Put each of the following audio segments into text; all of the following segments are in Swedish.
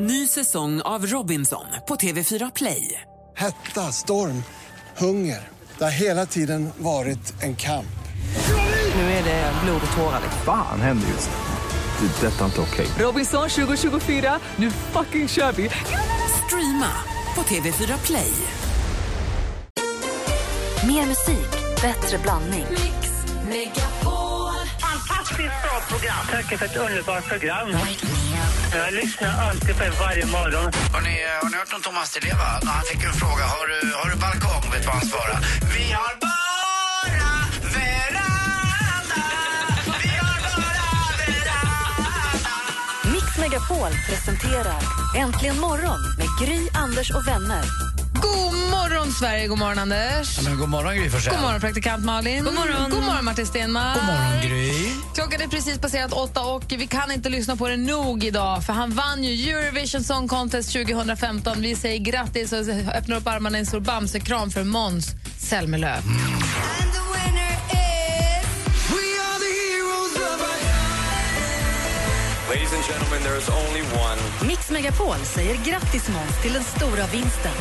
Ny säsong av Robinson på TV4 Play. Hetta, storm, hunger. Det har hela tiden varit en kamp. Nu är det blod och tårar. Fan händer just nu. Det. är Detta är inte okej. Robinson 2024, nu fucking kör vi! Streama på TV4 Play. Mer musik, bättre blandning. Fantastiskt bra program. Tack för ett underbart program. Jag lyssnar alltid på er varje morgon. Har ni, eh, har ni hört om Thomas Di Leva? När Han fick en fråga. Har du, har du balkong? Vet du vad han svarade? Vi har bara veranda. Vi har bara veranda. Mix Megapol presenterar Äntligen morgon med Gry, Anders och vänner. God morgon, Sverige. God morgon, Anders. Men god morgon, Gry Forssell. God morgon, praktikant Malin. God morgon, God morgon Martin Stenmarck. God morgon, Gry. Klockan är precis passerat åtta och vi kan inte lyssna på det nog idag för han vann ju Eurovision Song Contest 2015. Vi säger grattis och öppnar upp armarna i en stor bamsekram för Måns Zelmerlöw. Ladies and gentlemen, there is only one. Mix Megapol säger grattis Måns till den stora vinsten.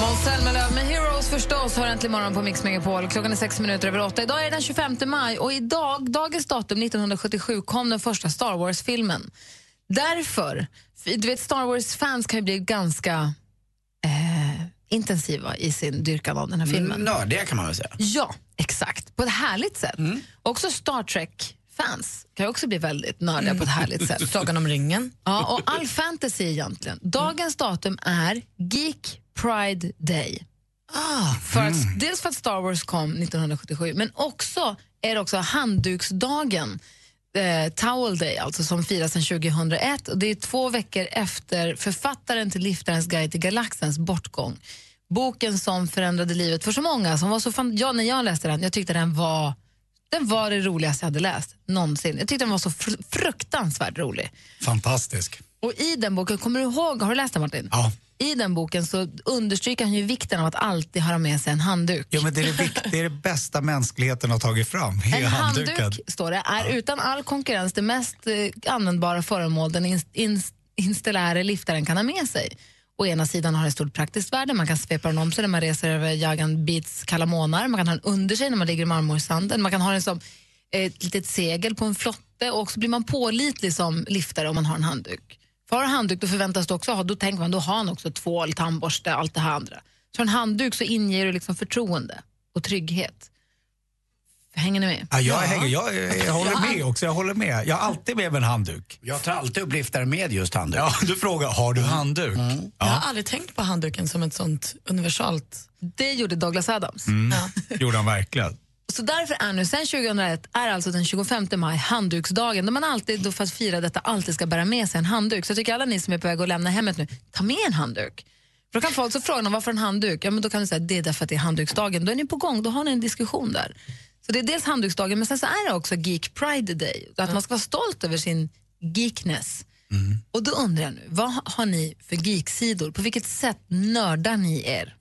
Måns Zelmerlöw med Heroes förstås har äntligen morgon på Mix Megapol. Klockan är sex minuter över åtta. Idag är det den 25 maj och idag, dagens datum 1977 kom den första Star Wars-filmen. Därför, du vet Star Wars-fans kan ju bli ganska eh, intensiva i sin dyrkan av den här filmen. Ja, det kan man väl säga. Ja, exakt. På ett härligt sätt. Också Star Trek-fans kan ju också bli väldigt nördiga på ett härligt sätt. Mm. Sagan om ringen. Ja, och all fantasy egentligen. Dagens datum är Geek Pride Day. Ah, För att, Dels för att Star Wars kom 1977, men också är det också handduksdagen. Eh, Towel Day, alltså, som firas sedan 2001. Och det är två veckor efter författaren till Liftarens guide till galaxens bortgång. Boken som förändrade livet för så många. Som var så fan... ja, när jag läste den jag tyckte den var den var det roligaste jag hade läst någonsin. Jag tyckte den var så fr- fruktansvärt rolig. Fantastisk. Och i den boken, kommer du ihåg, har du läst den Martin? Ja. I den boken så understryker han ju vikten av att alltid ha med sig en handduk. Ja, men det, är det, vik- det är det bästa mänskligheten har tagit fram. är En handduk, handduken. står det, är utan all konkurrens det mest eh, användbara föremål den ins- ins- installäre liftaren kan ha med sig. Å ena sidan har den ett stort praktiskt värde, man kan svepa den om sig när man reser över Jagan Beats kalla månar, man kan ha den under sig när man ligger i marmorsanden, man kan ha den som eh, ett litet segel på en flotte och så blir man pålitlig som liftare om man har en handduk. För har du handduk då förväntas du också ha, då tänker man, då har han också tvål, tandborste, allt det här andra. Så en handduk så inger du liksom förtroende och trygghet. Hänger ni med? Ja, jag, hänger, jag, eh, jag, håller med också. Jag håller med. Jag har alltid med mig en handduk. Jag tar alltid upp liftar med just handduk. Ja, du frågar, har Mm. du handduk? Jag har aldrig tänkt på handduken som ett sånt universalt... Det gjorde Douglas Adams. Gjorde han verkligen. Så därför är nu, sen 2001, är alltså den 25 maj handduksdagen då man alltid, då för att fira detta, alltid ska bära med sig en handduk. Så jag tycker alla ni som är på väg att lämna hemmet nu, ta med en handduk. För då kan folk så fråga dem, varför en handduk? Ja, men då kan du säga det är därför att det är handduksdagen. Då är ni på gång, då har ni en diskussion där. Så det är dels handduksdagen, men sen så är det också Geek Pride Day. Att man ska vara stolt över sin geekness. Och då undrar jag nu, vad har ni för geeksidor? På vilket sätt nördar ni er?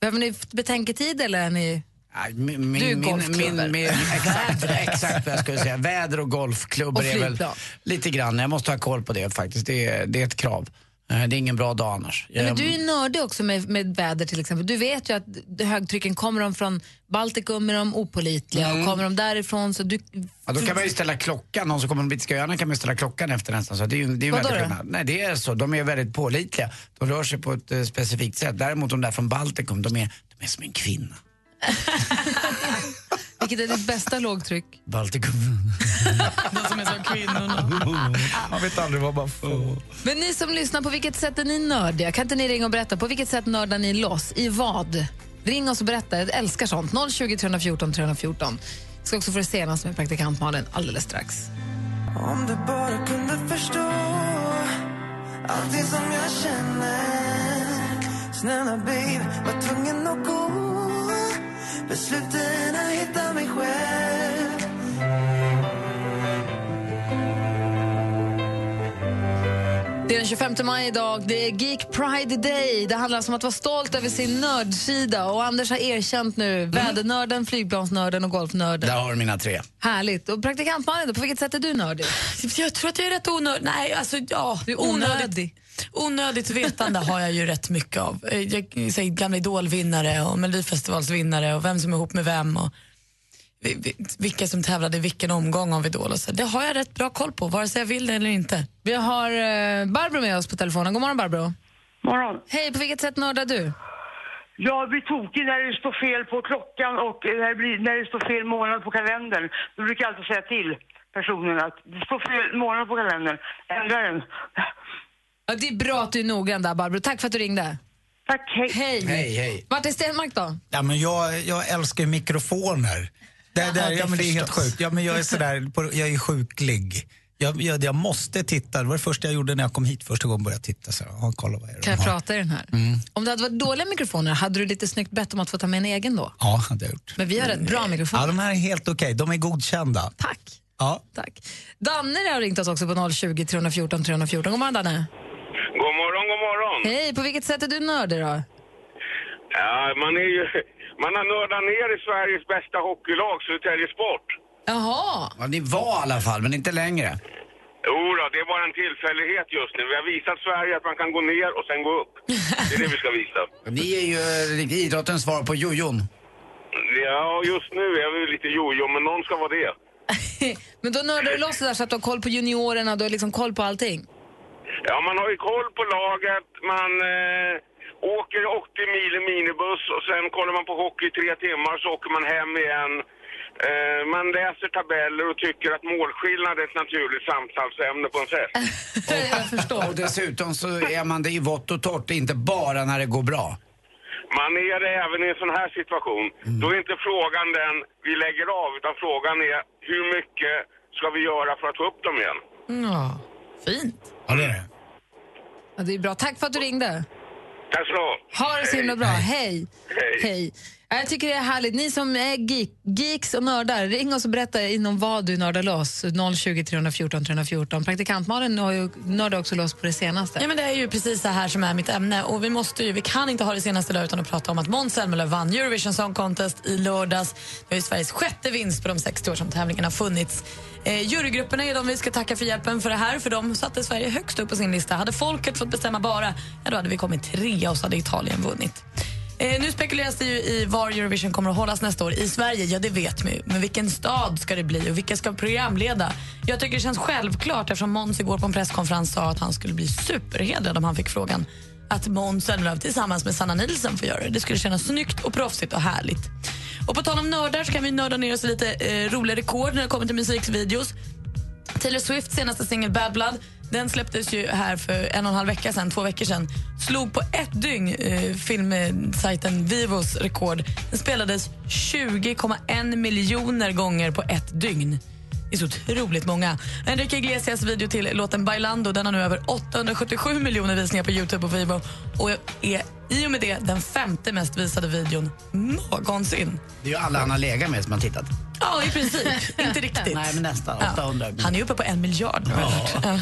Behöver ni betänketid eller är ni... Ja, Min, min, Du är min, golfklubbor. min, min, exakt, exakt vad jag skulle säga. Väder och golfklubbor Och är väl flygplan. lite grann. Jag måste ha koll på det faktiskt. Det är, det är ett krav. Eh, Det är ingen bra dag annars. Nej, men Jag- du är ju nördig också med, med väder till exempel. Du vet ju att d- högtrycken kommer de från Baltikum är de opolitliga och kommer de därifrån så du... Mm. Ja, då kan man ju ställa klockan, någon som kommer från Brittiska öarna kan man ju ställa klockan efter nästan. Så det är ju, det är ju Vadå väldigt då? skillnad. Nej, det är så. De är väldigt pålitliga. De rör sig på ett eh, specifikt sätt. Däremot de där från Baltikum, de är, de är som en kvinna. Vilket är ditt bästa lågtryck? Baltikum. De som är som kvinnorna. Man vet aldrig vad man får. Men ni som lyssnar, på vilket sätt är ni nördiga? Kan inte ni ringa och berätta? På vilket sätt nördar ni loss? I vad? Ring oss och berätta. Jag älskar sånt. 020 314 314. Jag ska också få det senaste med praktikant Malin alldeles strax. Om du bara kunde förstå allt det som jag känner Snälla babe, var tvungen att gå Besluten att hitta mig själv Det är den 25 maj idag. Det är Geek Pride Day. Det handlar alltså om att vara stolt över sin nördsida. Och Anders har erkänt nu vädernörden, flygplansnörden och golfnörden. Där har du mina tre. Härligt. Och praktikant Malin, då, på vilket sätt är du nördig? Jag tror att jag är rätt onödig. Nej, alltså ja. Du är onödig. Onödigt, onödigt vetande har jag ju rätt mycket av. Eh, Jag säger gamla idolvinnare och melodifestivalsvinnare och vem som är ihop med vem och vi- vi- vilka som tävlade i vilken omgång av idol och så. Det har jag rätt bra koll på, vare sig jag vill det eller inte. Vi har eh, Barbro med oss på telefonen. God morgon Barbro. Morgon. Hej, på vilket sätt nördar du? Jag blir tokig när det står fel på klockan och eh, när det, blir, när det står fel månad på kalendern. Då brukar jag alltid säga till personen att det står fel månad på kalendern. Ändra den. Ja, det är bra att du är noggrann där Barbro. Tack för att du ringde. Tack, hej. Hej. Hej, hej. Martin Stenmark då? Ja, men jag, jag älskar ju mikrofoner. Det, Jaha, det, det ja, men det är helt sjukt. Ja, men jag är sådär, på- jag är sjuklig. Jag, jag, jag måste titta. Det var det första jag gjorde när jag kom hit första gången började titta. Så, ja, Mm. kolla vad är det Kan jag de har. prata i den här? Om det hade varit dåliga mikrofoner, hade du lite snyggt bett om att få ta med en egen då? Ja, hade jag gjort. Men vi har rätt bra mikrofoner. Mm. Ja, de här är helt okej. De är godkända. Tack. Ja. Tack. Danne har ringt oss också på 020 314 314. God morgon Danne. God morgon, god morgon. Hej, på vilket sätt är du nördig då? Ja, man, är ju, man har nördat ner i Sveriges bästa hockeylag, Södertälje Sport. Jaha. Ja, ni var i alla fall, men inte längre. Jo då, det är bara en tillfällighet just nu. Vi har visat Sverige att man kan gå ner och sen gå upp. Det är det vi ska visa. Ni är ju eh, idrottens svar på jojon. Ja, just nu är vi lite jojo, men någon ska vara det. Men då nördar du loss det där så att du har koll på juniorerna, du har liksom koll på allting. Ja, man har ju koll på laget, man eh, åker 80 mil i minibuss och sen kollar man på hockey i tre timmar så åker man hem igen. Eh, man läser tabeller och tycker att målskillnad är ett naturligt samtalsämne på en fest. Jag förstår. Och dessutom så är man det i vått och torrt, inte bara när det går bra. Man är det även i en sån här situation. Då är inte frågan den vi lägger av, utan frågan är hur mycket ska vi göra för att få upp dem igen? Ja, fint. Ja, det är det. Ja, det är bra. Tack för att du ringde. Tack så Ha det så himla bra. Hej. Hej. Ja, Jag tycker det är härligt. Ni som är geek, geeks och nördar, ring oss och berätta inom vad du nördar loss. 020 314 314. Praktikantmalen har ju- nördar också loss på det senaste. Ja, men det är ju precis det här som är mitt ämne. Och vi, måste ju, vi kan inte ha det senaste idag utan att prata om att Måns Zelmerlöw vann Eurovision Song Contest i lördags. Det är ju Sveriges sjätte vinst på de 60 år som tävlingen har funnits. Eh, jurygrupperna är de vi ska tacka för hjälpen för det här, för de satte Sverige högst upp på sin lista. Hade folket fått bestämma bara, ja, då hade vi kommit trea och så hade Italien vunnit. Eh, nu spekuleras det ju i var Eurovision kommer att hållas nästa år. I Sverige, ja det vet man ju. Men vilken stad ska det bli och vilka ska programleda? Jag tycker det känns självklart eftersom Måns igår på en presskonferens sa att han skulle bli superhedrad om han fick frågan att Måns Zelmerlöw tillsammans med Sanna Nilsson får göra det. Det skulle kännas snyggt och proffsigt och härligt. Och på tal om nördar så kan vi nörda ner oss i lite eh, roliga rekord när det kommer till musikvideos. Taylor Swifts senaste singel Bad Blood den släpptes ju här för en och en halv vecka sedan, två veckor sedan. Slog på ett dygn eh, filmsajten Vivos rekord. Den spelades 20,1 miljoner gånger på ett dygn. Det är så otroligt många. Enrique Iglesias video till låten Bailando den har nu över 877 miljoner visningar på Youtube och Vivo och är i och med det den femte mest visade videon någonsin. Det är ju alla han har legat med som har tittat. Ja, i princip. Inte riktigt. Nej, men nästan. Ja. 800. Han är uppe på en miljard. nu. Ja.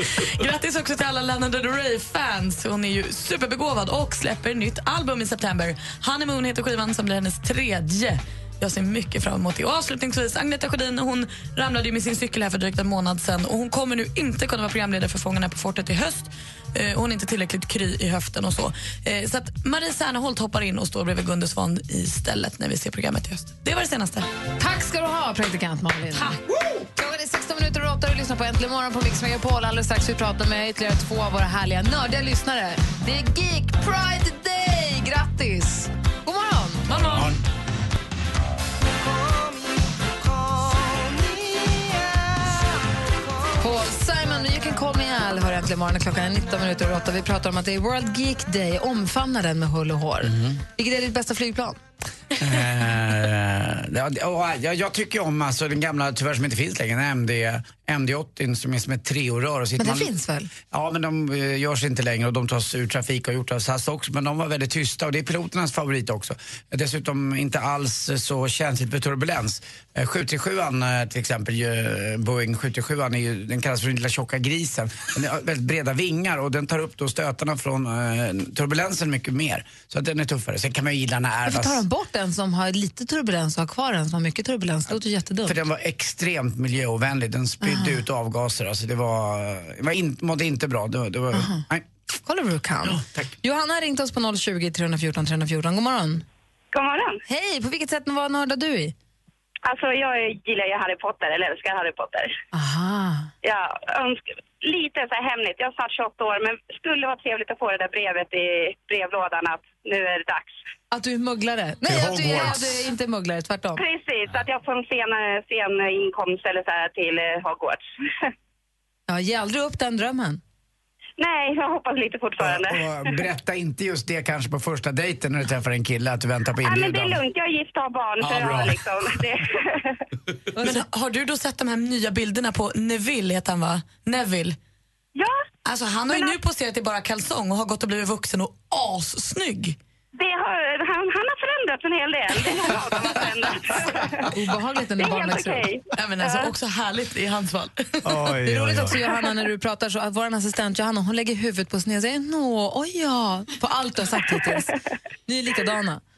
Grattis också till alla Lana Del Rey-fans. Hon är ju superbegåvad och släpper nytt album i september. Honeymoon heter skivan som blir hennes tredje. Jag ser mycket fram emot det. Och avslutningsvis, Agneta Sjödin hon ramlade ju med sin cykel här för drygt en månad sedan och hon kommer nu inte kunna vara programledare för Fångarna på fortet i höst. Eh, hon är inte tillräckligt kry i höften och så. Eh, så att Marie Serneholt hoppar in och står bredvid Gunde Svan istället när vi ser programmet i höst. Det var det senaste. Tack ska du ha, praktikant Malin. Klockan är 16 minuter och 8 och du lyssnar på Äntligen morgon på Mix Megapol. Alldeles strax vi pratar med ytterligare två av våra härliga nördiga lyssnare. Det är Geek Pride Day! Grattis! God morgon! God morgon! Paul Simon med You can call me Al hör äntligen morgonen. Klockan är 19 minuter och 8. Vi pratar om att Mhm. det är World Geek Day. Omfamna den med hull och hår. Vilket är ditt bästa flygplan? Eh, ja, det- och jag, jag tycker om alltså, den gamla, tyvärr som inte finns längre, den MD, MD80 som är som ett treorör. och sitter Men den man- finns väl? Ja, men de eh, görs inte längre och de tas ur trafik och har gjort av SAS också. Men de var väldigt tysta och det är piloternas favorit också. Dessutom inte alls eh, så känsligt för turbulens. Eh, 737 eh, till exempel, ju, eh, Boeing 737 är ju, den kallas för den lilla tjocka grisen. Den har väldigt breda vingar och den tar upp då stötarna från eh, turbulensen mycket mer. Så att den är tuffare. Sen kan man ju gilla när Varför Airbus... tar de bort den som har lite turbulens och har kvar den som har mycket turbulens? Det låter ju jättedumt. För den var extremt miljöovänlig. Den spydde Ah. ut avgaser. Alltså det var, det var in, mådde inte bra. Det var, det var, nej. Kolla vad du kan. Johanna har ringt oss på 020 314 314. God morgon. God morgon. Hej, på vilket sätt var nördar du i? Alltså jag gillar ju Harry Potter, eller älskar Harry Potter. Aha. Jag önskar, lite så här hemligt, jag är snart 28 år, men skulle vara trevligt att få det där brevet i brevlådan att nu är det dags. Att du är mugglare? Nej, att du är, att du är inte mugglare, tvärtom. Precis, att jag får en sen, sen inkomst eller så här till eh, Hogwarts. Ja, ge aldrig upp den drömmen. Nej, jag hoppas lite fortfarande. Och eh, berätta inte just det kanske på första dejten när du träffar en kille att du väntar på Nej, men det är inbjudan. lugnt, jag är gift och har barn. Ja, så jag bra. har liksom, det, Men har du då sett de här nya bilderna på Neville, heter han va? Neville? Ja. Alltså han har ju nu poserat i bara kalsong och har gått och blivit vuxen och assnygg. det har, han, han har förändrats en hel del. Det har jag har förändrats. Obehagligt när Det är barn helt växer upp. okej. Nej, men alltså, också härligt i hans fall. Det är roligt också Johanna när du pratar så att vår assistent Johanna hon lägger huvudet på sned och säger nå, oj ja, på allt du har sagt hittills. Ni är likadana.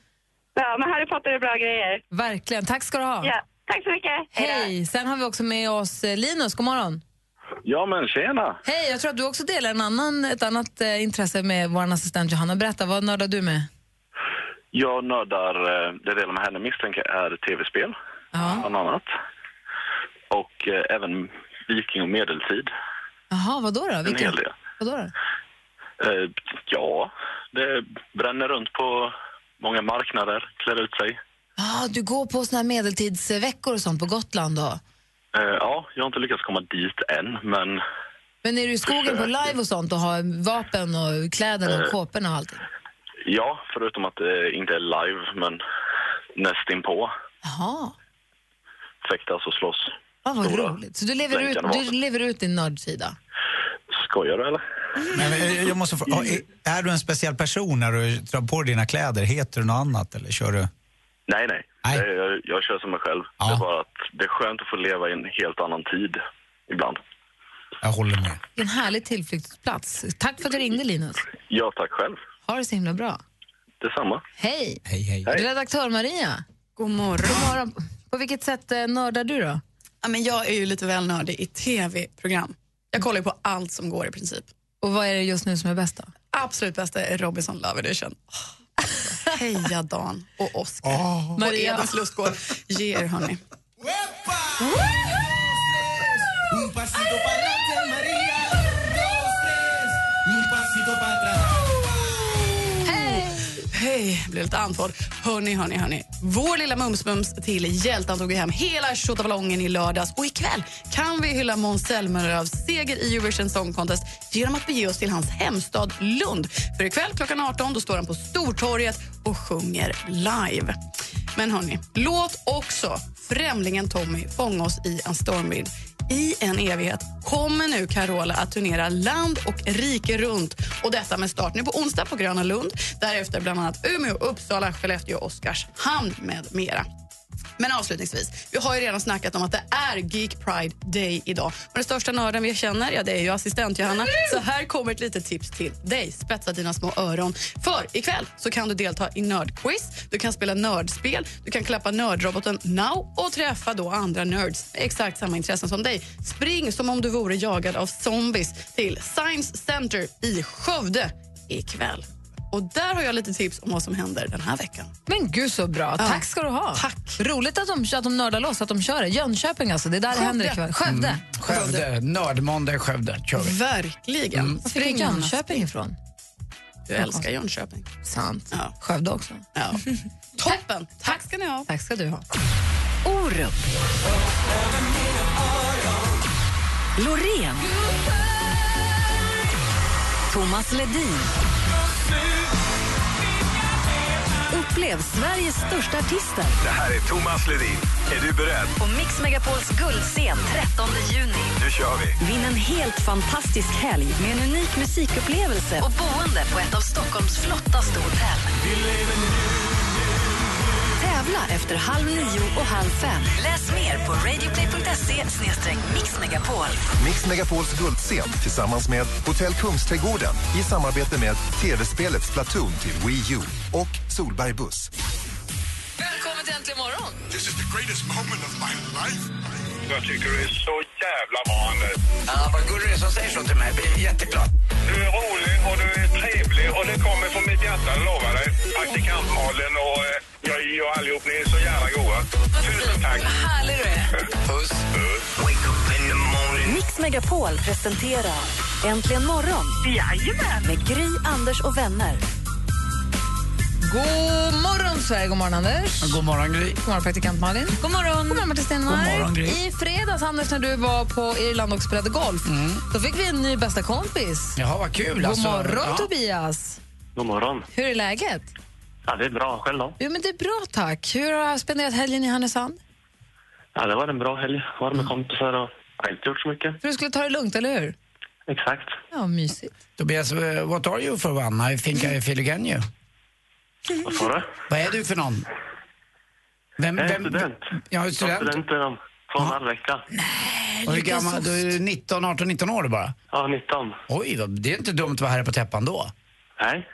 Ja, men Harry Potter är bra grejer. Verkligen, tack ska du ha. Ja, tack så mycket. Hej, sen har vi också med oss eh, Linus, god morgon. Ja, men tjena! Hej, jag tror att du också delar en annan, ett annat eh, intresse med vår assistent Johanna. Berätta, vad nördar du med? Jag nördar, eh, det delen med henne misstänker är tv-spel, bland annat. Och eh, även viking och medeltid, Jaha, vad då? då? en hel del. Vadå då? Eh, ja, det bränner runt på många marknader, klär ut sig. Ah, du går på såna här medeltidsveckor och sånt på Gotland då? Eh, ja, jag har inte lyckats komma dit än, men Men är du i skogen på live och sånt och har vapen och kläderna och Eh. kåporna och allt? ja, förutom att det inte är live, men nästinpå Jaha, fäktas och slåss. ah, vad Stora roligt. Så du lever, ut, blänkande du vapen. lever ut din nördsida? Skojar du eller? Men, eh, jag måste få, ja, är- är du en speciell person när du drar på dina kläder? Heter du något annat eller kör du? Nej, nej. Eh, Jag, jag kör som mig själv. Det är bara att det är skönt att få leva i en helt annan tid ibland. Jag håller med. En härlig tillflyktsplats. Tack för att du ringde Linus. Ja, tack själv. Ha det så himla bra. Detsamma. Hej! Hej, hej. Redaktör Maria. God morgon. God morgon. På vilket sätt eh, nördar du då? Ja, men jag är ju lite väl nördig i tv-program. Jag kollar ju på allt som går i princip. Och vad är det just nu som är bäst då? Absolut bästa är Robinson Love Edition. Åh, Heja Dan och Oscar. Ah. Och Maria. Edens lustgård. Ge er hörni. Un pasito pa'lante, María. Dos, tres. Un pasito para atrás. Hej! Hej, blev lite andfådd. Hörni, hörni, hörni. Vår lilla Mums-Mums till hjältan tog ju hem hela tjottaballongen i lördags och ikväll kan vi hylla Måns Zelmerlöws seger i Eurovision Song Contest genom att bege oss till hans hemstad Lund. För ikväll klockan 18 då står han på Stortorget och sjunger live. Men hörni, låt också främlingen Tommy fånga oss i en stormvind. I en evighet kommer nu Carola att turnera land och rike runt. Och Detta med start nu på onsdag på Gröna Lund. Därefter bland annat Umeå, Uppsala, Skellefteå, Oskarshamn med mera. Men avslutningsvis, vi har ju redan snackat om att det är Geek Pride Day idag. Och Den största nörden vi känner ja, det är ju assistent Johanna. Så här kommer ett litet tips till dig. Spetsa dina små öron. För ikväll så kan du delta i nördquiz, du kan spela nördspel, du kan klappa nördroboten Now och träffa då andra nerds med exakt samma intressen som dig. Spring som om du vore jagad av zombies till Science Center i Skövde ikväll. Och där har jag lite tips om vad som händer den här veckan. Men gud så bra. Ja. Tack ska du ha. Tack. Roligt att de, att de nördar loss, att de kör det. Jönköping alltså, det är där det händer ikväll. Skövde. Mm. Skövde. Nördmåndag i Skövde. Kör vi. Verkligen. Mm. Var fick du Jönköping ifrån? Du älskar Jönköping. Sant. Skövde också. Ja. Toppen! Tack ska ni ha. Tack ska du ha. Orup. Loreen. Thomas Ledin. Upplev Sveriges största artister Det här är Thomas Ledin. Är du beredd? på Mix Megapols guldscen 13 juni. Nu kör vi! Vinn en helt fantastisk helg med en unik musikupplevelse och boende på ett av Stockholms flottaste hotell. Tävla efter halv nio och halv fem. Läs mer på radioplay.se mixmegapol. Mix Megapols guldscen tillsammans med Hotell Kungsträdgården i samarbete med tv-spelet Splatoon till Wii U och Solberg Buss. Välkommen till Äntligen morgon! This is the greatest moment of my life. Jag tycker du är så jävla manande. Ja, vad gullig du är som säger så till mig. Jag blir jätteglad. Du är rolig och du är trevlig och det kommer från mitt hjärta, jag lovar dig. Praktikant-Malin och eh, jag och allihop, ni är så jävla goa. Tusen tack. Vad härlig du är! Puss. Wake up in the morning. Mix Megapol presenterar Äntligen morgon Jajamän. med Gry, Anders och vänner. God morgon, Sverige. God morgon, Anders. God morgon, Gry. God morgon, praktikant Malin. God morgon. God morgon, Martin Stenmarck. God morgon, Gry. I fredags, Anders, när du var på Irland och spelade golf, då fick vi en ny bästa kompis. Jaha, vad Mm. kul. God alltså. morgon, Ja. Tobias. God morgon. Hur är läget? Ja, det är bra. Själv då? Jo, men det är bra, tack. Hur har du spenderat helgen i Härnösand? Ja, det var en bra helg. Var Mm. med kompisar och jag har inte gjort så mycket. För du skulle ta det lugnt, eller hur? Exakt. Ja, mysigt. Tobias, eh, what are you for one? I think I feel again you. Vad sa du? Vad är du för någon? Vem, jag är vem- student. Ja, Jag är student inom två och en halv vecka. Och hur gammal? Du är 19, 18, 19 år bara? Ja, 19. Oj, vad- det är inte dumt att vara här på täppan då. Nej,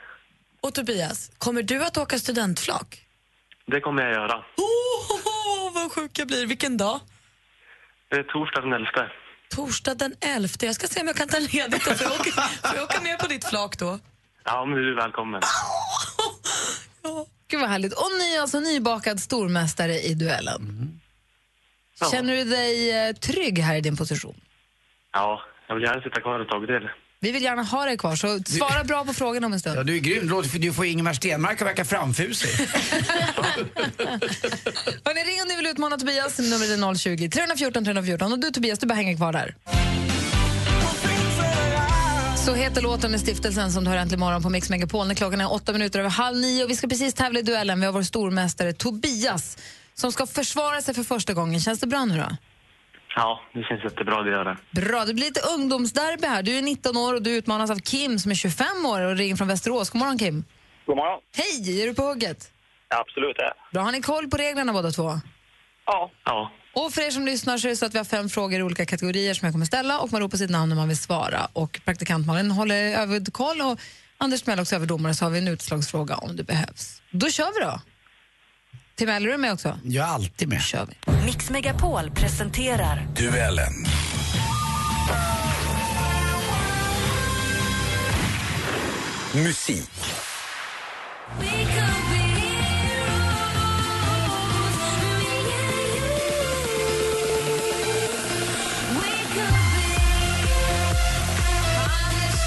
Och Tobias, kommer du att åka studentflak? det kommer jag göra. Oh, vad sjuk jag blir. Vilken dag? Det är torsdag den 11. Torsdag den 11. Jag ska se om jag kan ta ledigt. Får jag åka, får jag åka med på ditt flak då? Ja, men du är välkommen. Gud vad härligt. Och ni är alltså nybakad stormästare i duellen. Känner du dig eh, trygg här i din position? Ja, jag vill gärna sitta kvar ett tag till. Vi vill gärna ha dig kvar, så svara bra på frågan om en stund. Ja, du är grym. Du låter- Du får Ingemar Stenmark att verka framfusig. Hörrni, ring om ni vill utmana Tobias. Numret är 020 314 314. Och du Tobias, du bara hänger kvar där. Så heter låten med stiftelsen som du hör äntligen morgon på Mix Megapol. När klockan är åtta minuter över halv nio och vi ska precis tävla i duellen. Vi har vår stormästare Tobias som ska försvara sig för första gången. Känns det bra nu då? Ja, det känns jättebra det gör det. Bra, det blir lite ungdomsderby här. Du är 19 år och du utmanas av Kim som är 25 år och ringer från Västerås. God morgon Kim. God morgon. Hej, är du på hugget? Absolut. Ja. Bra, har ni koll på reglerna båda två? Ja. ja. Och för er som lyssnar så är det så att vi har fem frågor i olika kategorier som jag kommer ställa och man ropar sitt namn när man vill svara. Och praktikant Malin håller överkoll och Anders Timell också överdomare så har vi en utslagsfråga om det behövs. Då kör vi då! Timell, är du med också? Jag är alltid med. kör vi. Mix Megapol presenterar Duellen. Musik.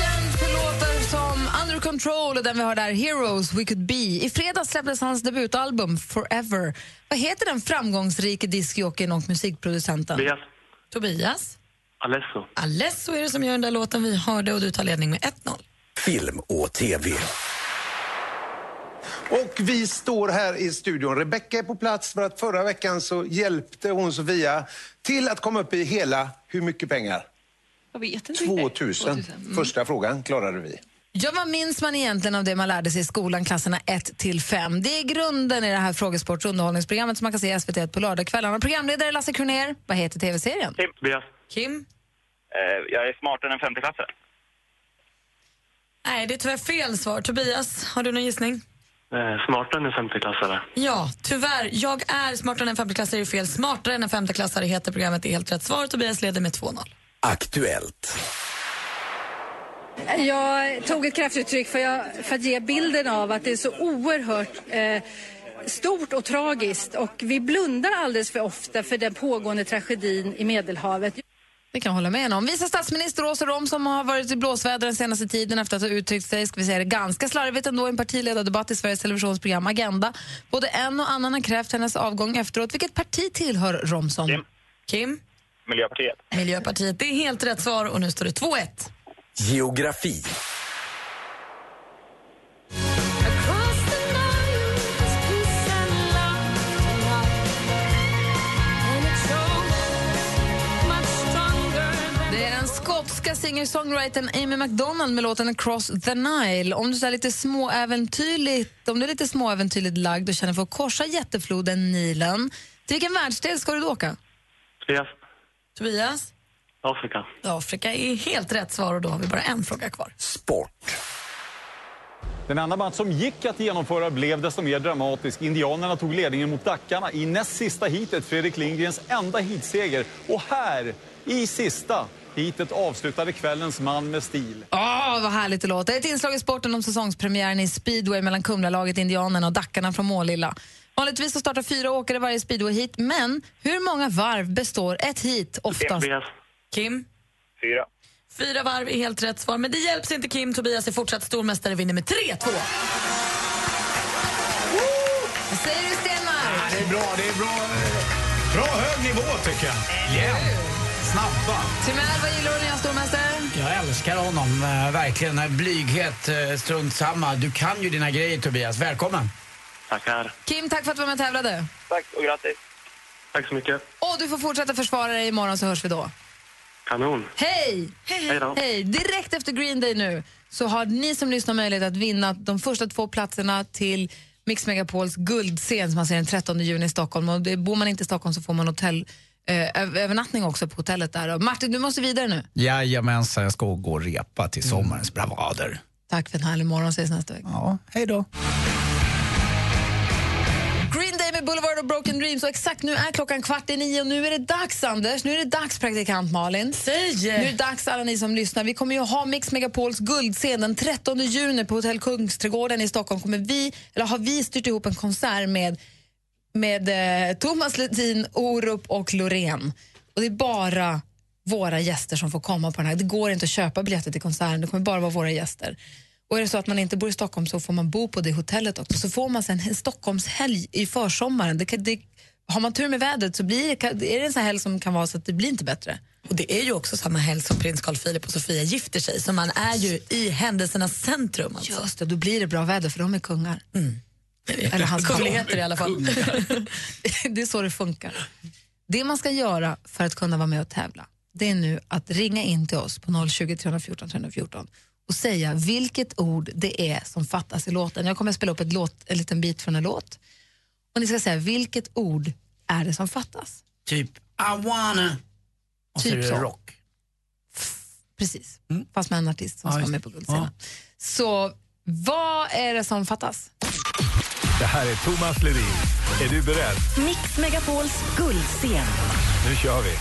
Känd för låtar som Under Control och den vi har där, Heroes We Could Be. I fredags släpptes hans debutalbum Forever. Vad heter den framgångsrike discjockeyn och musikproducenten? Tobias, Tobias, Alesso. Alesso är det som gör den där låten vi hörde och du tar ledning med 1-0. Film och tv. Och vi står här i studion. Rebecka är på plats för att förra veckan så hjälpte hon Sofia till att komma upp i hela, hur mycket pengar? Jag vet 2000. Första frågan klarade vi. Ja, vad minns man egentligen av det man lärde sig i skolan, klasserna 1 till 5? Det är grunden i det här frågesports och underhållningsprogrammet som man kan se i SVT på lördagskvällarna. Programledare Lasse Kronér, vad heter tv-serien? Tobias. Kim? Eh, jag är smartare än en 50-klassare. Nej, det är tyvärr fel svar. Tobias, har du någon gissning? Eh, smartare än en 50-klassare. Ja, tyvärr. Jag är smartare än en femteklassare är fel. Smartare än en femteklassare heter programmet. Det är helt rätt svar. Tobias leder med 2-0. Aktuellt. Jag tog ett kraftuttryck för, jag, för att ge bilden av att det är så oerhört eh, stort och tragiskt och vi blundar alldeles för ofta för den pågående tragedin i Medelhavet. Det kan jag hålla med om. Vice statsminister Åsa Rom som har varit i blåsväder den senaste tiden efter att ha uttryckt sig, ska vi säga det, ganska slarvigt ändå i en partiledardebatt i Sveriges Televisions program Agenda. Både en och annan har krävt hennes avgång efteråt. Vilket parti tillhör Romson? Kim. Kim? Mm. Miljöpartiet. Miljöpartiet. Det är helt rätt svar och nu står det 2-1. Geografi. Engelska singer-songwritern Amy McDonald med låten Across the Nile. Om du, så här lite småäventyrligt, om du är lite småäventyrligt lagd och känner för att korsa jättefloden Nilen, till vilken världsdel ska du då åka? Tobias, Tobias? Afrika. Afrika är helt rätt svar och då har vi bara en fråga kvar. Den andra match som gick att genomföra blev desto mer dramatisk. Indianerna tog ledningen mot Dackarna i näst sista heatet, Fredrik Lindgrens enda heatseger. Och här, i sista heatet, avslutade kvällens man med stil. Åh, vad härligt det låter. Ett inslag i sporten om säsongspremiären i speedway mellan Kumlalaget Indianerna och Dackarna från Målilla. Vanligtvis så startar fyra åkare varje speedway hit, men hur många varv består ett hit oftast? Tobias. Kim? Fyra. Fyra varv är helt rätt svar, men det hjälps inte Kim. Tobias är fortsatt stormästare och vinner med 3-2. Vad säger du, Stenmark? Det är bra, det är bra. Bra hög nivå tycker jag. Jämn, snabba. Timell, vad gillar du när jag är stormästare? Jag älskar honom, eh, verkligen. Den här Blyghet, eh, strunt samma. Du kan ju dina grejer, Tobias. Välkommen. Tackar. Kim, tack för att du var med och tävlade. Tack och grattis. Tack så mycket. Och du får fortsätta försvara dig imorgon så hörs vi då. Kanon. Hej! Hej då. Hej! Direkt efter Green Day nu så har ni som lyssnar möjlighet att vinna de första två platserna till Mix Megapols guldscen som man ser den 13 juni i Stockholm. Och det, bor man inte i Stockholm så får man hotell, eh, ö- övernattning också på hotellet där. Och Martin, du måste vidare nu. Jajamensan, jag ska gå och repa till sommarens bravader. Tack för en härlig morgon. Ses nästa vecka. Ja, hej då. Green Day med Boulevard och Broken Dreams. Och exakt nu är klockan kvart i nio och nu är det dags, Anders. Nu är det dags, praktikant Malin. Säg! Nu är det dags, alla ni som lyssnar. Vi kommer ju ha Mix Megapols guldscen den 13 juni på Hotell Kungsträdgården i Stockholm. Kommer vi, eller har vi styrt ihop en konsert med, med eh, Thomas Ledin, Orup och Loreen. Och det är bara våra gäster som får komma på den här. Det går inte att köpa biljetter till konserten, det kommer bara vara våra gäster. Och är det så att man inte bor i Stockholm så får man bo på det hotellet också. Så får man sen en Stockholmshelg i försommaren. Det kan, det, har man tur med vädret så blir det, kan- är det en sån här helg som kan vara så att det blir inte bättre. Och Det är ju också samma helg som prins Carl Philip och Sofia gifter sig, så man är ju i händelsernas centrum. Alltså. Just det, då blir det bra väder för de är kungar. Eller hans Kungligheter i alla fall. det är så det funkar. Det man ska göra för att kunna vara med och tävla det är nu att ringa in till oss på 020 314 314 och säga vilket ord det är som fattas i låten. Jag kommer att spela upp ett låt, en liten bit från en låt och ni ska säga vilket ord är det som fattas. Typ I wanna. Och så Typ är det så. rock. Mm. Precis, fast med en artist som Ja, ska vara just med det. på guldscenen. Så vad är det som fattas? Det här är Thomas Ledin. Är du beredd? Mix Megapols guldscen. Nu kör vi.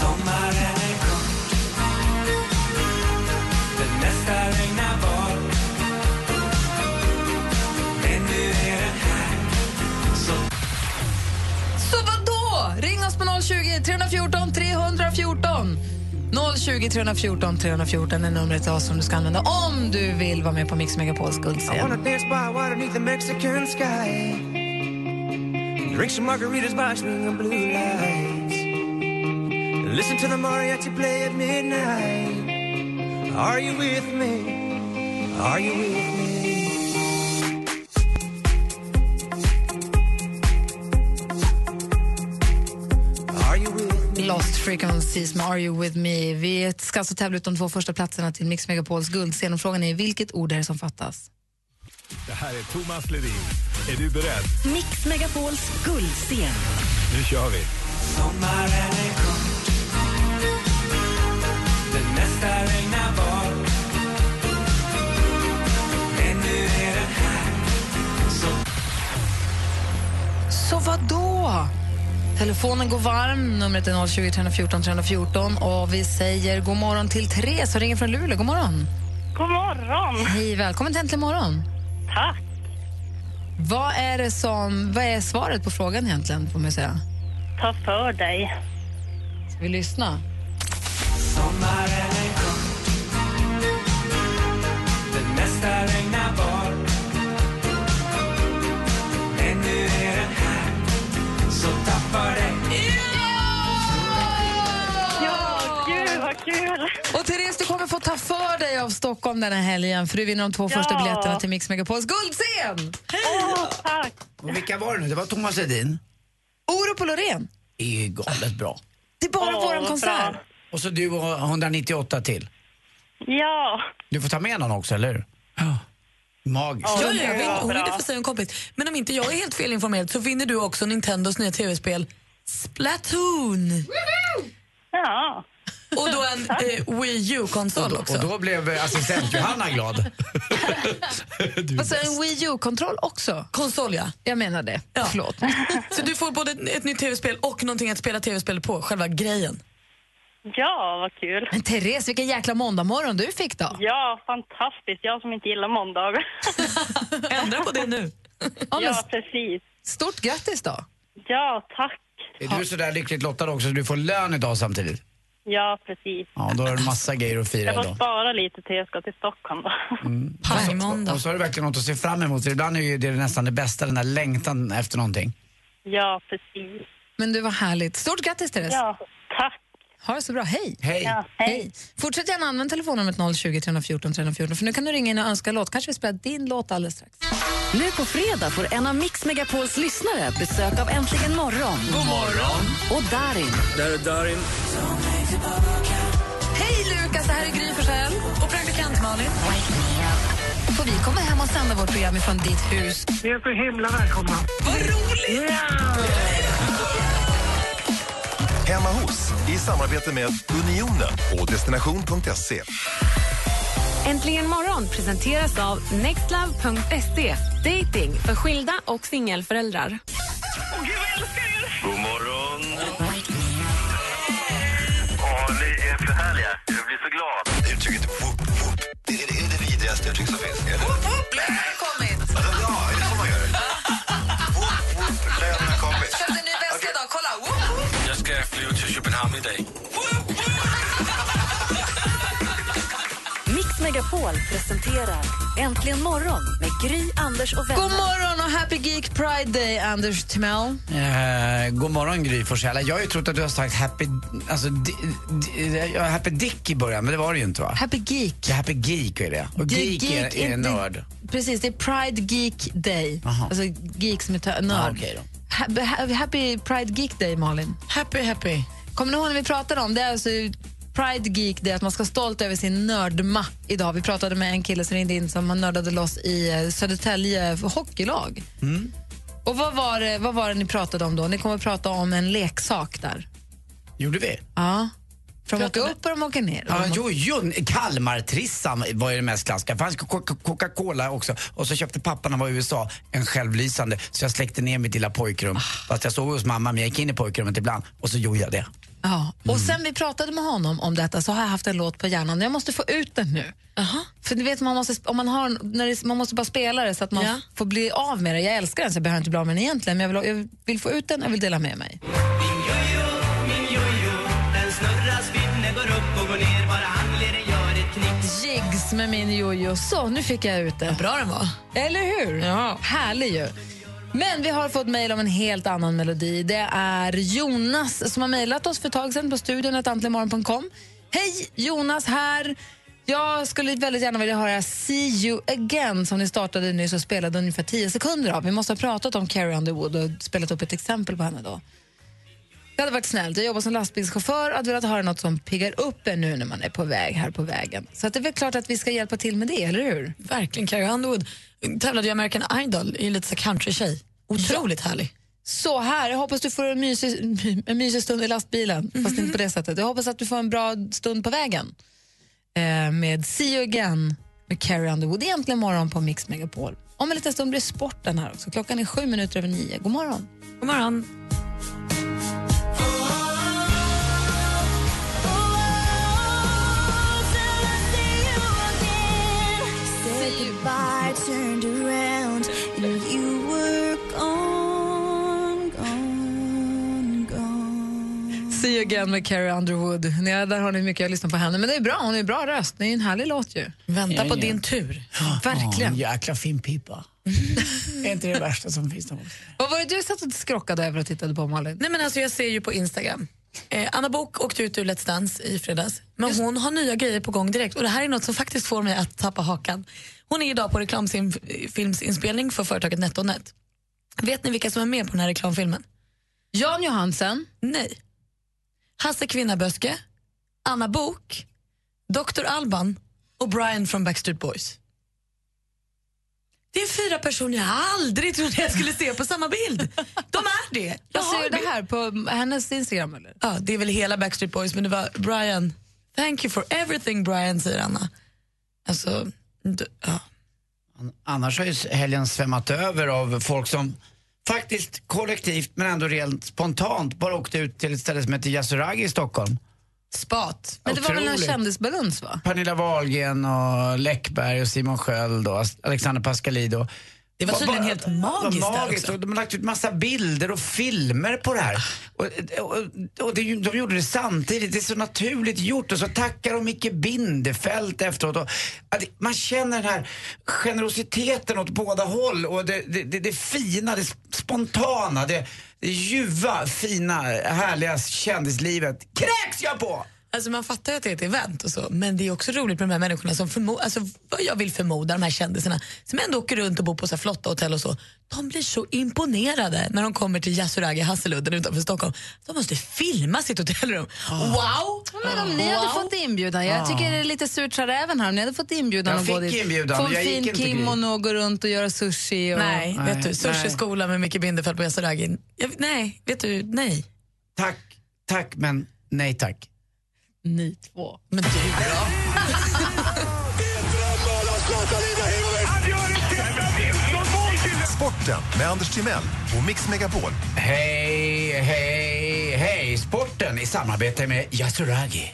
Sommaren är kort Det mesta regnar bort Men nu är den här Så Så vad då? Ring oss på 020 314 314. 020 314 314 är numret till oss som du ska använda om du vill vara med på Mix Megapols I wanna guldscen. dance by water beneath the Mexican sky Drink some margaritas watching the blue lights Listen to the mariachi play at midnight Are you with me? Are you with me? Lost Frequencies med Are You With Me. Vi ska alltså tävla ut de två första platserna till Mix Megapols guldscen och frågan är vilket ord är det som fattas? Det här är Thomas Ledin. Är du beredd? Mix Megapols guldscen. Nu kör vi. Sommaren är kort Det mesta regnar bort Men nu är den här Så Så vad då? Telefonen går varm, numret är 020 314 314 och vi säger god morgon till Therese som ringer från Luleå. God morgon! God morgon! Hej, välkommen till Äntligen morgon! Tack. Vad är, det som, vad är svaret på frågan egentligen, får man säga? Ta för dig. Ska vi lyssna? sommaren är kort Det mesta regnar bort Men nu är den här Så tappa dig Ja, gud vad kul! Och Therese, du kommer få ta för dig av Stockholm den här helgen för du vinner de två Ja. första biljetterna till Mix Megapols guldscen! Åh, tack! Och vilka var det nu? Det var Thomas Ledin. Orup och Loreen, Det är ju galet bra. det är bara Åh, våran vad konsert. Och så du och 198 till. Ja. Du får ta med någon också, eller hur? Ja. Magiskt. Ja, ja, jag vet, hon vet jag får säga en kompis. Men om inte jag är helt felinformerad så vinner du också Nintendos nya tv-spel Splatoon. Ja. Och då en eh, Wii U-konsol också. Och då blev eh, assistent Johanna glad. Alltså en Wii U-kontroll också? Konsol, ja. Jag menar det. Ja. Förlåt. Så du får både ett nytt tv-spel och någonting att spela tv-spel på, själva grejen. Ja, vad kul. Men Therese, vilken jäkla måndagmorgon du fick då. Ja, fantastiskt. Jag som inte gillar måndagar. Ändra på det nu. Ja, precis. Stort grattis då. Ja, tack. Är du sådär lyckligt lottad också så du får lön idag samtidigt? Ja, precis. Ja, då har du en massa grejer att fira Jag får idag. spara lite till jag ska till Stockholm då. Och så har du verkligen något att se fram emot. För ibland är ju det nästan det bästa, den där längtan efter någonting. Ja, precis. Men du var härligt. Stort grattis Therese. Ja, tack. Ha det så bra. Hej. Hej. Ja, hej. Fortsätt gärna använda telefonnumret 020 314 314 för nu kan du ringa in och önska låt. Kanske vi spelar din låt alldeles strax. Nu på fredag får en av Mix Megapols lyssnare besök av Äntligen morgon. God morgon! Och Darin. Där är Darin. Hej Lukas, det här är Gry Forssell och praktikant Malin. Får vi komma hem och sända vårt program ifrån ditt hus? Ni är så himla välkomna. Vad roligt! Hemma hos i samarbete med Unionen och Destination.se. Äntligen morgon presenteras av nextlove.se. Dating för skilda och singelföräldrar. God morgon. Åh, ni är för härliga. Jag blir så glad. Uttrycket whoop, whoop. Det är det, är det vidrigaste uttryck som finns. Eller? Whoop, whoop, lönen har kommit. Ja, är det så man gör det? Whoop, whoop, lönen har kommit. Köpte en ny väska idag, kolla! Jag ska flyga till Köpenhamn idag. Mix Megapol presenterar Äntligen morgon med Gry, Anders och vänner. God morgon och happy Geek Pride Day, Anders Timell. Eh, god morgon Gry Forssell. Jag har ju trott att du har sagt happy, alltså, di, di, ja, happy Dick i början, men det var det ju inte va? Happy Geek. Ja, happy Geek är det. Och Det är Geek, geek, är, är inte- nörd. Precis, det är Pride Geek Day. Aha. Alltså geek som är tö- nörd. Ah, okej Ha- ha- happy Pride Geek Day, Malin. Happy, happy. Kommer ni ihåg när vi pratade om det? är Alltså Pride Geek Day, att man ska vara stolt över sin nördma idag. Vi pratade med en kille som ringde in som han nördade loss i eh, Södertälje hockeylag. Mm. Och vad var, det, vad var det ni pratade om då? Ni kommer att prata om en leksak där. Gjorde vi? Ja. För de åker upp och de åker ner. Ja, jo, jo, Kalmartrissan var ju det mest klassiska. Fanns Coca- Coca-Cola också. Och så köpte pappa när han var i USA en självlysande. Så jag släckte ner mitt lilla Ah. pojkrum. Fast jag sov hos mamma, men jag gick in i pojkrummet ibland. Och så gjorde jag det. Ja, och sen vi pratade med honom om detta så har jag haft en låt på hjärnan. Jag måste få ut den nu. För ni vet, man måste, om man, har, en- när det, man måste bara spela det så att man Ja. får bli av med det. Jag älskar den så jag behöver inte bli av med den egentligen. Men jag vill, jag vill få ut den, jag vill dela med mig. Min jojo, den snurrar, spinner, går upp och går ner. Bara handleden gör ett knick. Jigs med min jojo. Så, nu fick jag ut den. bra den var. Eller hur? Ja. Härlig ju. Men vi har fått mejl om en helt annan melodi. Det är Jonas som har mejlat oss för ett tag sedan på studion antligenmorgon.com. Hej, Jonas här. Jag skulle väldigt gärna vilja höra See you again som ni startade nyss och spelade ungefär 10 sekunder av. Vi måste ha pratat om Carrie Underwood och spelat upp ett exempel på henne då. Det hade varit snällt. Jag jobbar som lastbilschaufför och hade velat höra något som piggar upp en nu när man är på väg här på vägen. Så att det är väl klart att vi ska hjälpa till med det, eller hur? Verkligen, Carrie Underwood tävlade i American Idol, är ju lite så country-tjej. Otroligt härlig. Så här, jag hoppas du får en mysig, en mysig stund i lastbilen, fast Mhm. inte på det sättet. Jag hoppas att du får en bra stund på vägen eh, med See you again med Carrie Underwood. Det är Äntligen morgon på Mix Megapol. Om en liten stund blir sporten här också. Klockan är sju minuter över nio. God morgon. God morgon. See you again med Carrie Underwood. Ja, där har ni mycket att lyssna på henne. Men det är bra, hon har ju bra röst. Det är ju en härlig låt ju. Vänta Ja, på ja. din tur. Verkligen. Mm. Åh, en jäkla fin pipa. är inte det värsta som finns där också? Vad var det du satt och skrockade över och tittade på, Malin? Nej, men alltså, jag ser ju på Instagram. Eh, Anna Bok åkte ut ur Let's Dance i fredags, men hon har nya grejer på gång direkt. Och Det här är något som faktiskt får mig att tappa hakan. Hon är idag på reklamfilmsinspelning för företaget NetOnNet. Vet ni vilka som är med på den här reklamfilmen? Jan Johansen? Nej. Hasse Kvinnaböske, Anna Bok, Dr. Alban och Brian från Backstreet Boys. Det är fyra personer jag aldrig trodde jag skulle se på samma bild. De är det. Jag ser det här på hennes Instagram. Eller? Ja, det är väl hela Backstreet Boys, men det var Brian. Thank you for everything, Brian, säger Anna. Alltså, d- ja. Annars har ju helgen svämmat över av folk som faktiskt kollektivt men ändå rent spontant bara åkte ut till ett ställe som heter Yasuragi i Stockholm. Spat. Men det var väl en Otroligt. kändisbalans va? Pernilla Wahlgren och Läckberg och Simon Sköld och Alexander Pascalido. Det var tydligen helt magiskt alltså. det var där magiskt också. och de har lagt ut massa bilder och filmer på det här. Och, och, och det, är ju- de gjorde det samtidigt, det är så naturligt gjort och så tackar de Micke Bindefeld efteråt. Och, ja, det- man känner den här generositeten åt båda håll och det, det, det, det fina, det spontana, det, det ljuva, fina, härliga kändislivet kräks jag på! Alltså man fattar ju att det är ett event och så, men det är också roligt med de här människorna som förmo- alltså vad jag vill förmoda, de här kändisarna som ändå åker runt och bor på så här flotta hotell och så. De blir så imponerade när de kommer till Yasuragi, Hasseludden utanför Stockholm. De måste filma sitt hotellrum. Wow! Ja, Men om ni hade Wow. fått inbjudan, jag Ja. tycker det är lite surt sa räven här, om ni hade fått inbjudan Jag och gå fick dit. inbjudan, få en jag gick fin inte dit. kimono och gå runt och göra sushi. Och... Nej, vet du, sushiskola med Micke Bindefeld på Yasuragi. Jag, nej, vet du, nej. Tack, tack men nej tack. Ni två. Men du då? Sporten med Anders Timell och Mix Megapol. Hej, hej, hej! Sporten i samarbete med Yasuragi.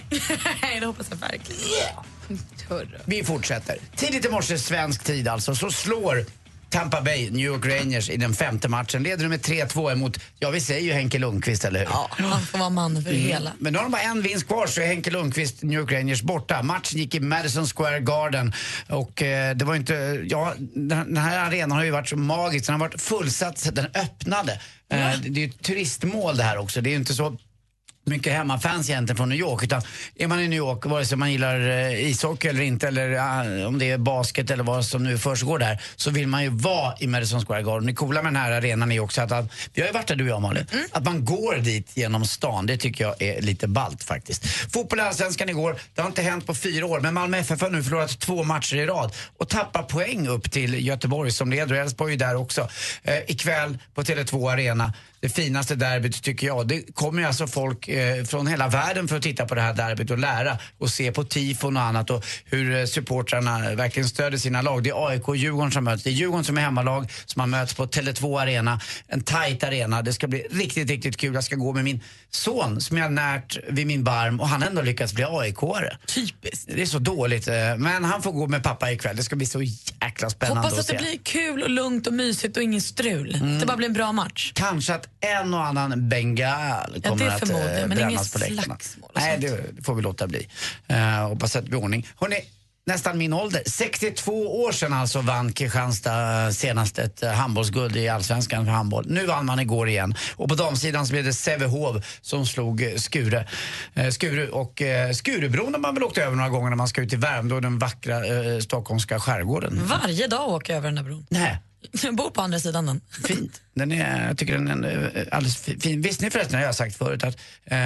nej, det hoppas jag verkligen. Vi fortsätter. Tidigt i morse, svensk tid alltså, så slår Tampa Bay New York Rangers i den femte matchen. Leder de med 3-2 emot, ja vi säger ju Henke Lundqvist, eller hur? Man får vara man för hela. Men nu har de bara en vinst kvar så är Henke Lundqvist, New York Rangers, borta. Matchen gick i Madison Square Garden och eh, det var inte, ja, den här- den här arenan har ju varit så magisk. Den har varit fullsatt sedan den öppnade. Eh, det- Det är ju ett turistmål det här också. Det är ju inte så mycket hemmafans egentligen från New York. Utan är man i New York, vare sig man gillar eh, ishockey eller inte, eller eh, om det är basket eller vad som nu försiggår där, så vill man ju vara i Madison Square Garden. Det coola med den här arenan är också att, att vi har ju varit där du och jag Malin, att man går dit genom stan, det tycker jag är lite balt faktiskt. Fotboll i Allsvenskan igår, det har inte hänt på fyra år, men Malmö FF har nu förlorat två matcher i rad och tappar poäng upp till Göteborg som leder, och Elfsborg är ju där också. Eh, ikväll på Tele2 Arena, det finaste derbyt tycker jag. Det kommer ju alltså folk eh, från hela världen för att titta på det här derbyt och lära och se på tifon och annat och hur eh, supportrarna verkligen stödjer sina lag. Det är AIK och Djurgården som möts. Det är Djurgården som är hemmalag som har möts på Tele2 Arena. En tight arena. Det ska bli riktigt, riktigt kul. Jag ska gå med min son som jag närt vid min barm och han har ändå lyckats bli AIK-are. Typiskt. Det är så dåligt. eh, Men han får gå med pappa ikväll. Det ska bli så jäkla spännande Hoppas att se. Mm. det blir kul och lugnt och mysigt och ingen strul. Det bara blir en bra match. Kanske att en och annan bengal Ja, kommer det att förmodar jag, eh, men brännas inget på läktarna. slagsmål Nej, det får vi låta bli. Uh, hoppas att det blir ordning. Hörrni, nästan min ålder. 62 år sedan alltså vann Kristianstad senast ett eh, handbollsguld i allsvenskan för handboll. Nu vann man igår igen. Och på damsidan så blev det Sävehof som slog eh, Skure. Eh, Skuru och eh, Skurubron har man väl åkt över några gånger när man ska ut i Värmdö, den vackra eh, stockholmska skärgården. Varje dag åker jag över den där bron. Nej. Jag bor på andra sidan den. Fint. Den är, jag tycker den är en, eh, alldeles fi- fin. Visste ni förresten, jag har sagt förut, att eh,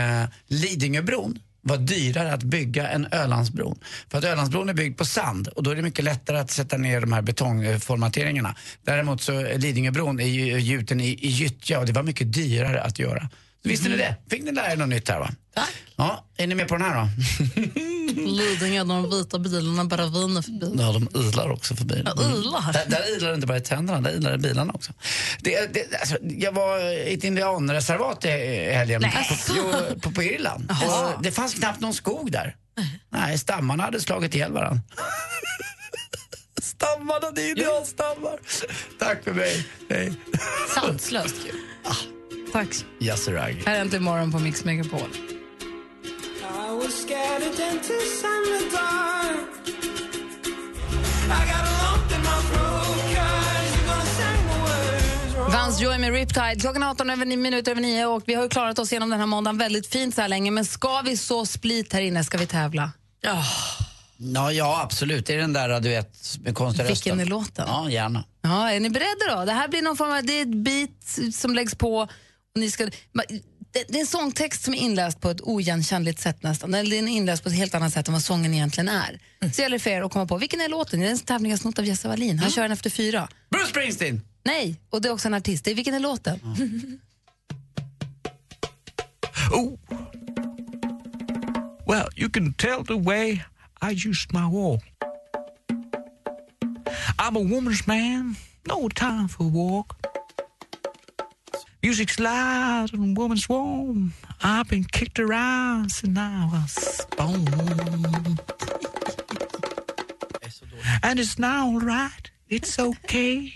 Lidingöbron var dyrare att bygga än Ölandsbron. För att Ölandsbron är byggd på sand och då är det mycket lättare att sätta ner de här betongformateringarna. Däremot så eh, Lidingöbron är ju gjuten i, i gyttja och det var mycket dyrare att göra. Så visste ni det? Fick ni lära er något nytt här va? Tack. Ja, är ni med på den här då? Lidingö, de vita bilarna bara viner förbi. Ja, de ilar också förbi. Ja, Mm. ilar. Där, där ilar det inte bara i tänderna, där ilar det i bilarna också. Det, det, alltså, jag var i ett indianreservat i i helgen Nej. på, jo, på, på Irland. Jaha. Och det fanns knappt någon skog där. Nej, stammarna hade slagit ihjäl varandra. stammarna, det är indianstammar. Tack för mig. Hej. Sanslöst kul. Ah. Tack. Yasuragi. Här är Äntligen morgon på Mix Megapol. I was scared of dentists and the dark. I got a lump in my throat, cause you're gonna sing the words wrong. Vans Joy med Riptide. Klockan är 18 över 9 minuter över 9 och vi har ju klarat oss igenom den här måndagen väldigt fint så här länge. Men ska vi så split här inne? Ska vi tävla? Ja. Ja, ja, absolut. Det är den där du vet, med konstiga Vilken rösten. är låten? Ja, gärna. Ja, är ni beredda då? Det här blir någon form av, det är ett beat som läggs på och ni ska, ma- det, det är en sångtext som är inläst på ett oigenkännligt sätt nästan. Eller den är inläst på ett helt annat sätt än vad sången egentligen är. Mm. Så gäller det för er att komma på, vilken är låten? Det är en tävling jag snott av Jesse Wallin. Han kör den efter fyra. Bruce Springsteen! Nej, och det är också en artist. Det är, vilken är låten? Oh. Well, you can tell the way I used my walk. I'm a woman's man, no time for walk. Music's loud and woman's warm. I've been kicked around since I was born. and it's now all right, it's okay.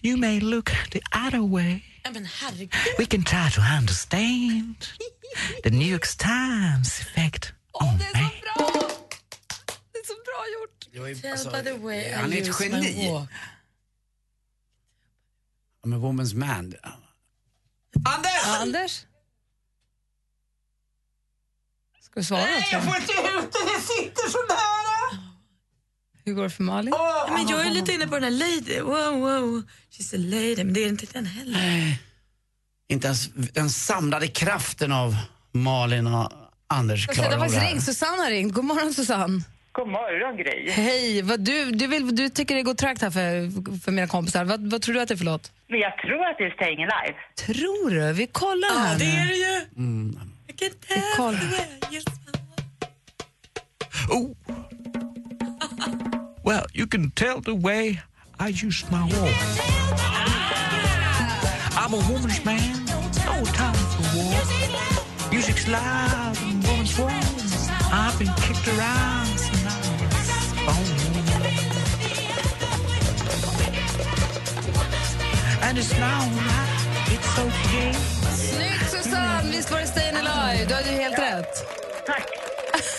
You may look the other way. Ja, men herregud. We can try to understand the New York Times effect on me. Det är så bra gjort. Jag är- Tell alltså, by the way I han är ett use my geni. walk. I'm a woman's man. Anders! Anders? Ska du svara? Nej, jag får inte ut det! Det sitter så nära! Hur går det för Malin? Ja, men jag är lite inne på den här lady. Wow, wow. She's a lady, men det är inte den heller. Inte ens den samlade kraften av Malin och Anders Jag har klarar av det faktiskt här. ringt. Susanne har ringt. God morgon, Susanne. God morgon, Gry. Hej. Vad du, du, vill, du tycker det går trögt här för, för mina kompisar. Vad, vad tror du att det är för låt? Men jag tror att det är Staying Alive. Tror du? Vi kollar Ja, här det nu. är det ju. Vi kollar. Oh. Well, you can tell the way I use my walk. I'm a woman's man, no time for war. Music's loud and woman's warm. I've been kicked around since I was born. And it's now right, it's okay. Snyggt Susanne! Visst var det Stayin' Alive? Du hade ju helt rätt. Tack.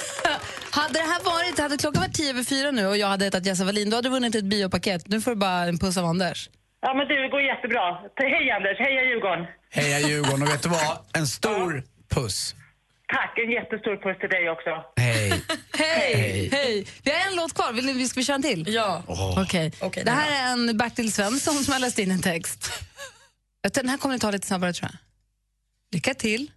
hade det här varit, hade klockan varit tio över fyra nu och jag hade hetat Jesse Wallin, då hade du vunnit ett biopaket. Nu får du bara en puss av Anders. Ja, men du, det går jättebra. Hej, Anders. Heja Djurgården. Heja Djurgården och vet du vad? En stor puss. Tack. En jättestor puss till dig också. Hej. Hej! Hej. Hej! Vi har en låt kvar. Vill ni, ska vi köra en till? Ja. Åh. Okej. Det här är en Bertil Svensson som har läst in en text. Jag tror- Den här kommer ni ta lite snabbare, tror jag. Lycka till.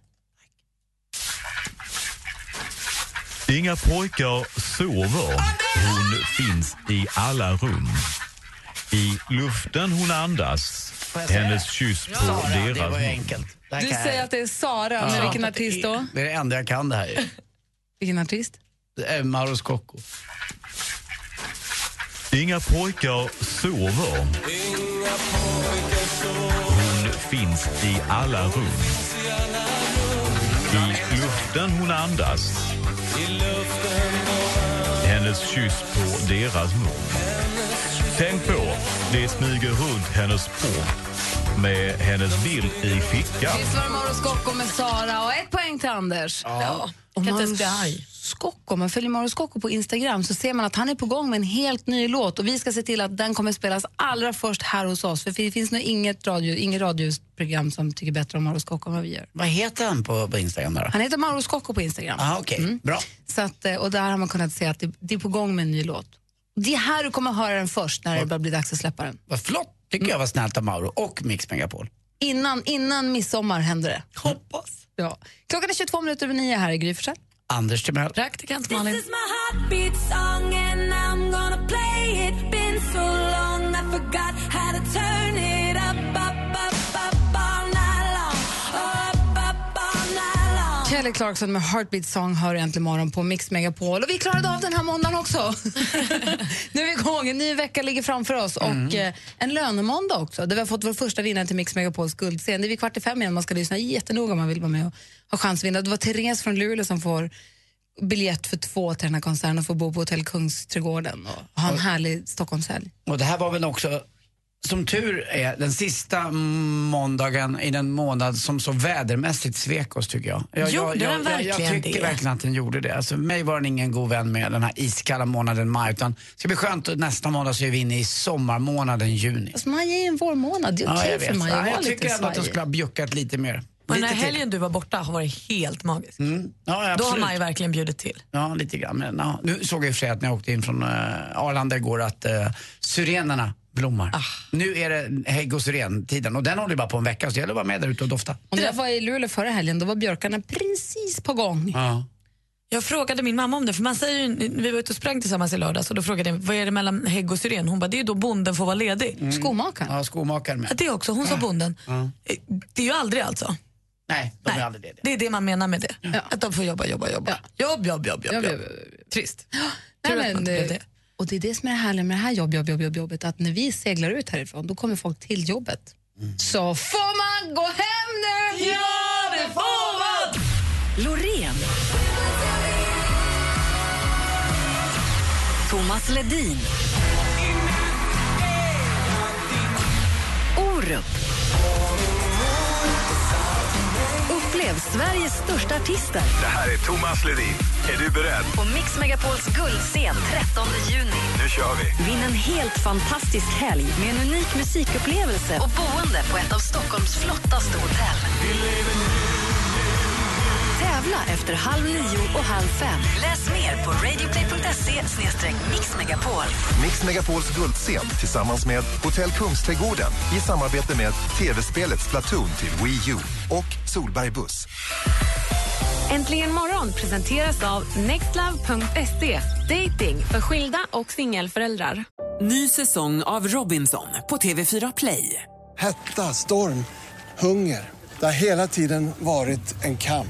Inga pojkar sover. Hon finns i alla rum. I luften hon andas. Hennes kyss på Sara, det deras var ju mun. enkelt. Det här Du kan jag- säger att det är Sara, men Ja. vilken artist då? Det är det enda jag kan det här. ju. Vilken artist? Det är Mauro Scocco. Inga pojkar sover. Hon finns i alla rum. I luften hon andas. Hennes kyss på deras mun. Tänk på, det smyger runt hennes port med hennes bild i fickan. Visst var det Mauro Scocco med Sara och ett poäng till Anders. Ja. Kan Och inte Mauro ens bli arg. Scocco, om man följer Mauro Scocco på Instagram så ser man att han är på gång med en helt ny låt och vi ska se till att den kommer spelas allra först här hos oss för det finns nog inget, radio, inget radioprogram som tycker bättre om Mauro Scocco än vad vi gör. Vad heter han på, på Instagram då? Han heter Mauro Scocco på Instagram. Ah, okej. Mm. Bra. Så att, eh, och där har man kunnat se att det, det är på gång med en ny låt. Det är här du kommer höra den först när det börjar bli dags att släppa den. Vad flott tycker jag var snällt av Mauro och Mix Megapol. Innan, innan midsommar händer det. Hoppas. Ja. Klockan är 22 minuter över nio här i Gry Forssell. Anders Timell. Praktikant Malin. This is my heartbeat song and I'm gonna play it. Been so long I forgot how to turn it up, up, up, up all night long. Oh, up, up all night long. Kelly Clarkson med Heartbeat Song hör du äntligen morgon på Mix Megapol. Och vi klarade av den här måndagen också. nu är vi igång, en ny vecka ligger framför oss och Mm. eh, en lönemåndag också. Där vi har fått vår första vinnare till Mix Megapols guldscen. Det är vid kvart i fem igen, man ska lyssna jättenoga om man vill vara med och ha chans att vinna. Det var Therese från Luleå som får biljett för två till den här konserten och får bo på Hotell Kungsträdgården och ha en härlig Stockholmshelg. Och det här var väl också, som tur är, den sista måndagen i den månad som så vädermässigt svek oss tycker jag. Jag, Gjorde jag, jag, den jag, jag verkligen tycker det? verkligen att den gjorde det. Alltså, mig var den ingen god vän med den här iskalla månaden maj. Utan det ska bli skönt och nästa måndag så är vi inne i sommarmånaden juni. Fast Alltså, maj är ju en vårmånad, det är okej jag för maj att Ja, vara jag tycker lite ändå att den svajig. skulle ha bjuckat lite mer. Och den här Lite till. helgen du var borta har varit helt magisk. Mm. Ja, Då har absolut. man ju verkligen bjudit till. Ja, lite grann. Men, ja. Nu såg jag i och för sig att när jag åkte in från eh, Arlanda igår att eh, syrenerna blommar. Nu är det häggosyrén-tiden och den håller bara på en vecka så det gäller att vara med där ute och dofta. Om jag var i Luleå förra helgen, då var björkarna precis på gång. Ja. Jag frågade min mamma om det, för man säger ju, vi var ute och sprang tillsammans i lördags och då frågade jag vad är det mellan hägg och syren? Hon bara, det är ju då bonden får vara ledig. Mm. Skomakaren? Ja, skomakaren med. Ja, det också, hon sa bonden. Eh, Ja. Det är ju aldrig alltså. Nej, de är aldrig lediga. Det är det man menar med det. Att de får jobba, jobba, jobba. Jobb, jobb, jobb, jobb. jobb. Trist. Nej, Tur att men, man inte blev det. Och det är det som är det härliga med det här jobb, jobb, jobb, jobb, jobbet, att när vi seglar ut härifrån, då kommer folk till jobbet. Så får man gå hem nu! Ja, det får man! Loreen. Thomas Ledin. Orup. Upplev Sveriges största artister Det här är Thomas Ledin. Är du beredd? på Mix Megapols guldscen 13 juni. Nu kör vi. Vinn en helt fantastisk helg med en unik musikupplevelse och boende på ett av Stockholms flottaste hotell. Tävla efter halv nio och halv fem. Läs mer på radioplay.se mixmegapol. Mix Megapols guldscen tillsammans med Hotell Kungsträdgården i samarbete med tv-spelet Splatoon till Wii U och Solberg Buss. Äntligen morgon presenteras av nextlove.se. Dating för skilda och singelföräldrar. Ny säsong av Robinson på TV4 Play. Hetta, storm, hunger. Det har hela tiden varit en kamp.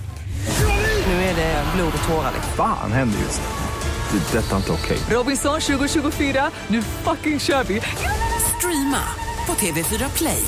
Nu är det blod och tårar. liksom. Fan händer just nu. Det. är Detta är inte okej. Robinson 2024, nu fucking kör vi! Streama på TV4 Play.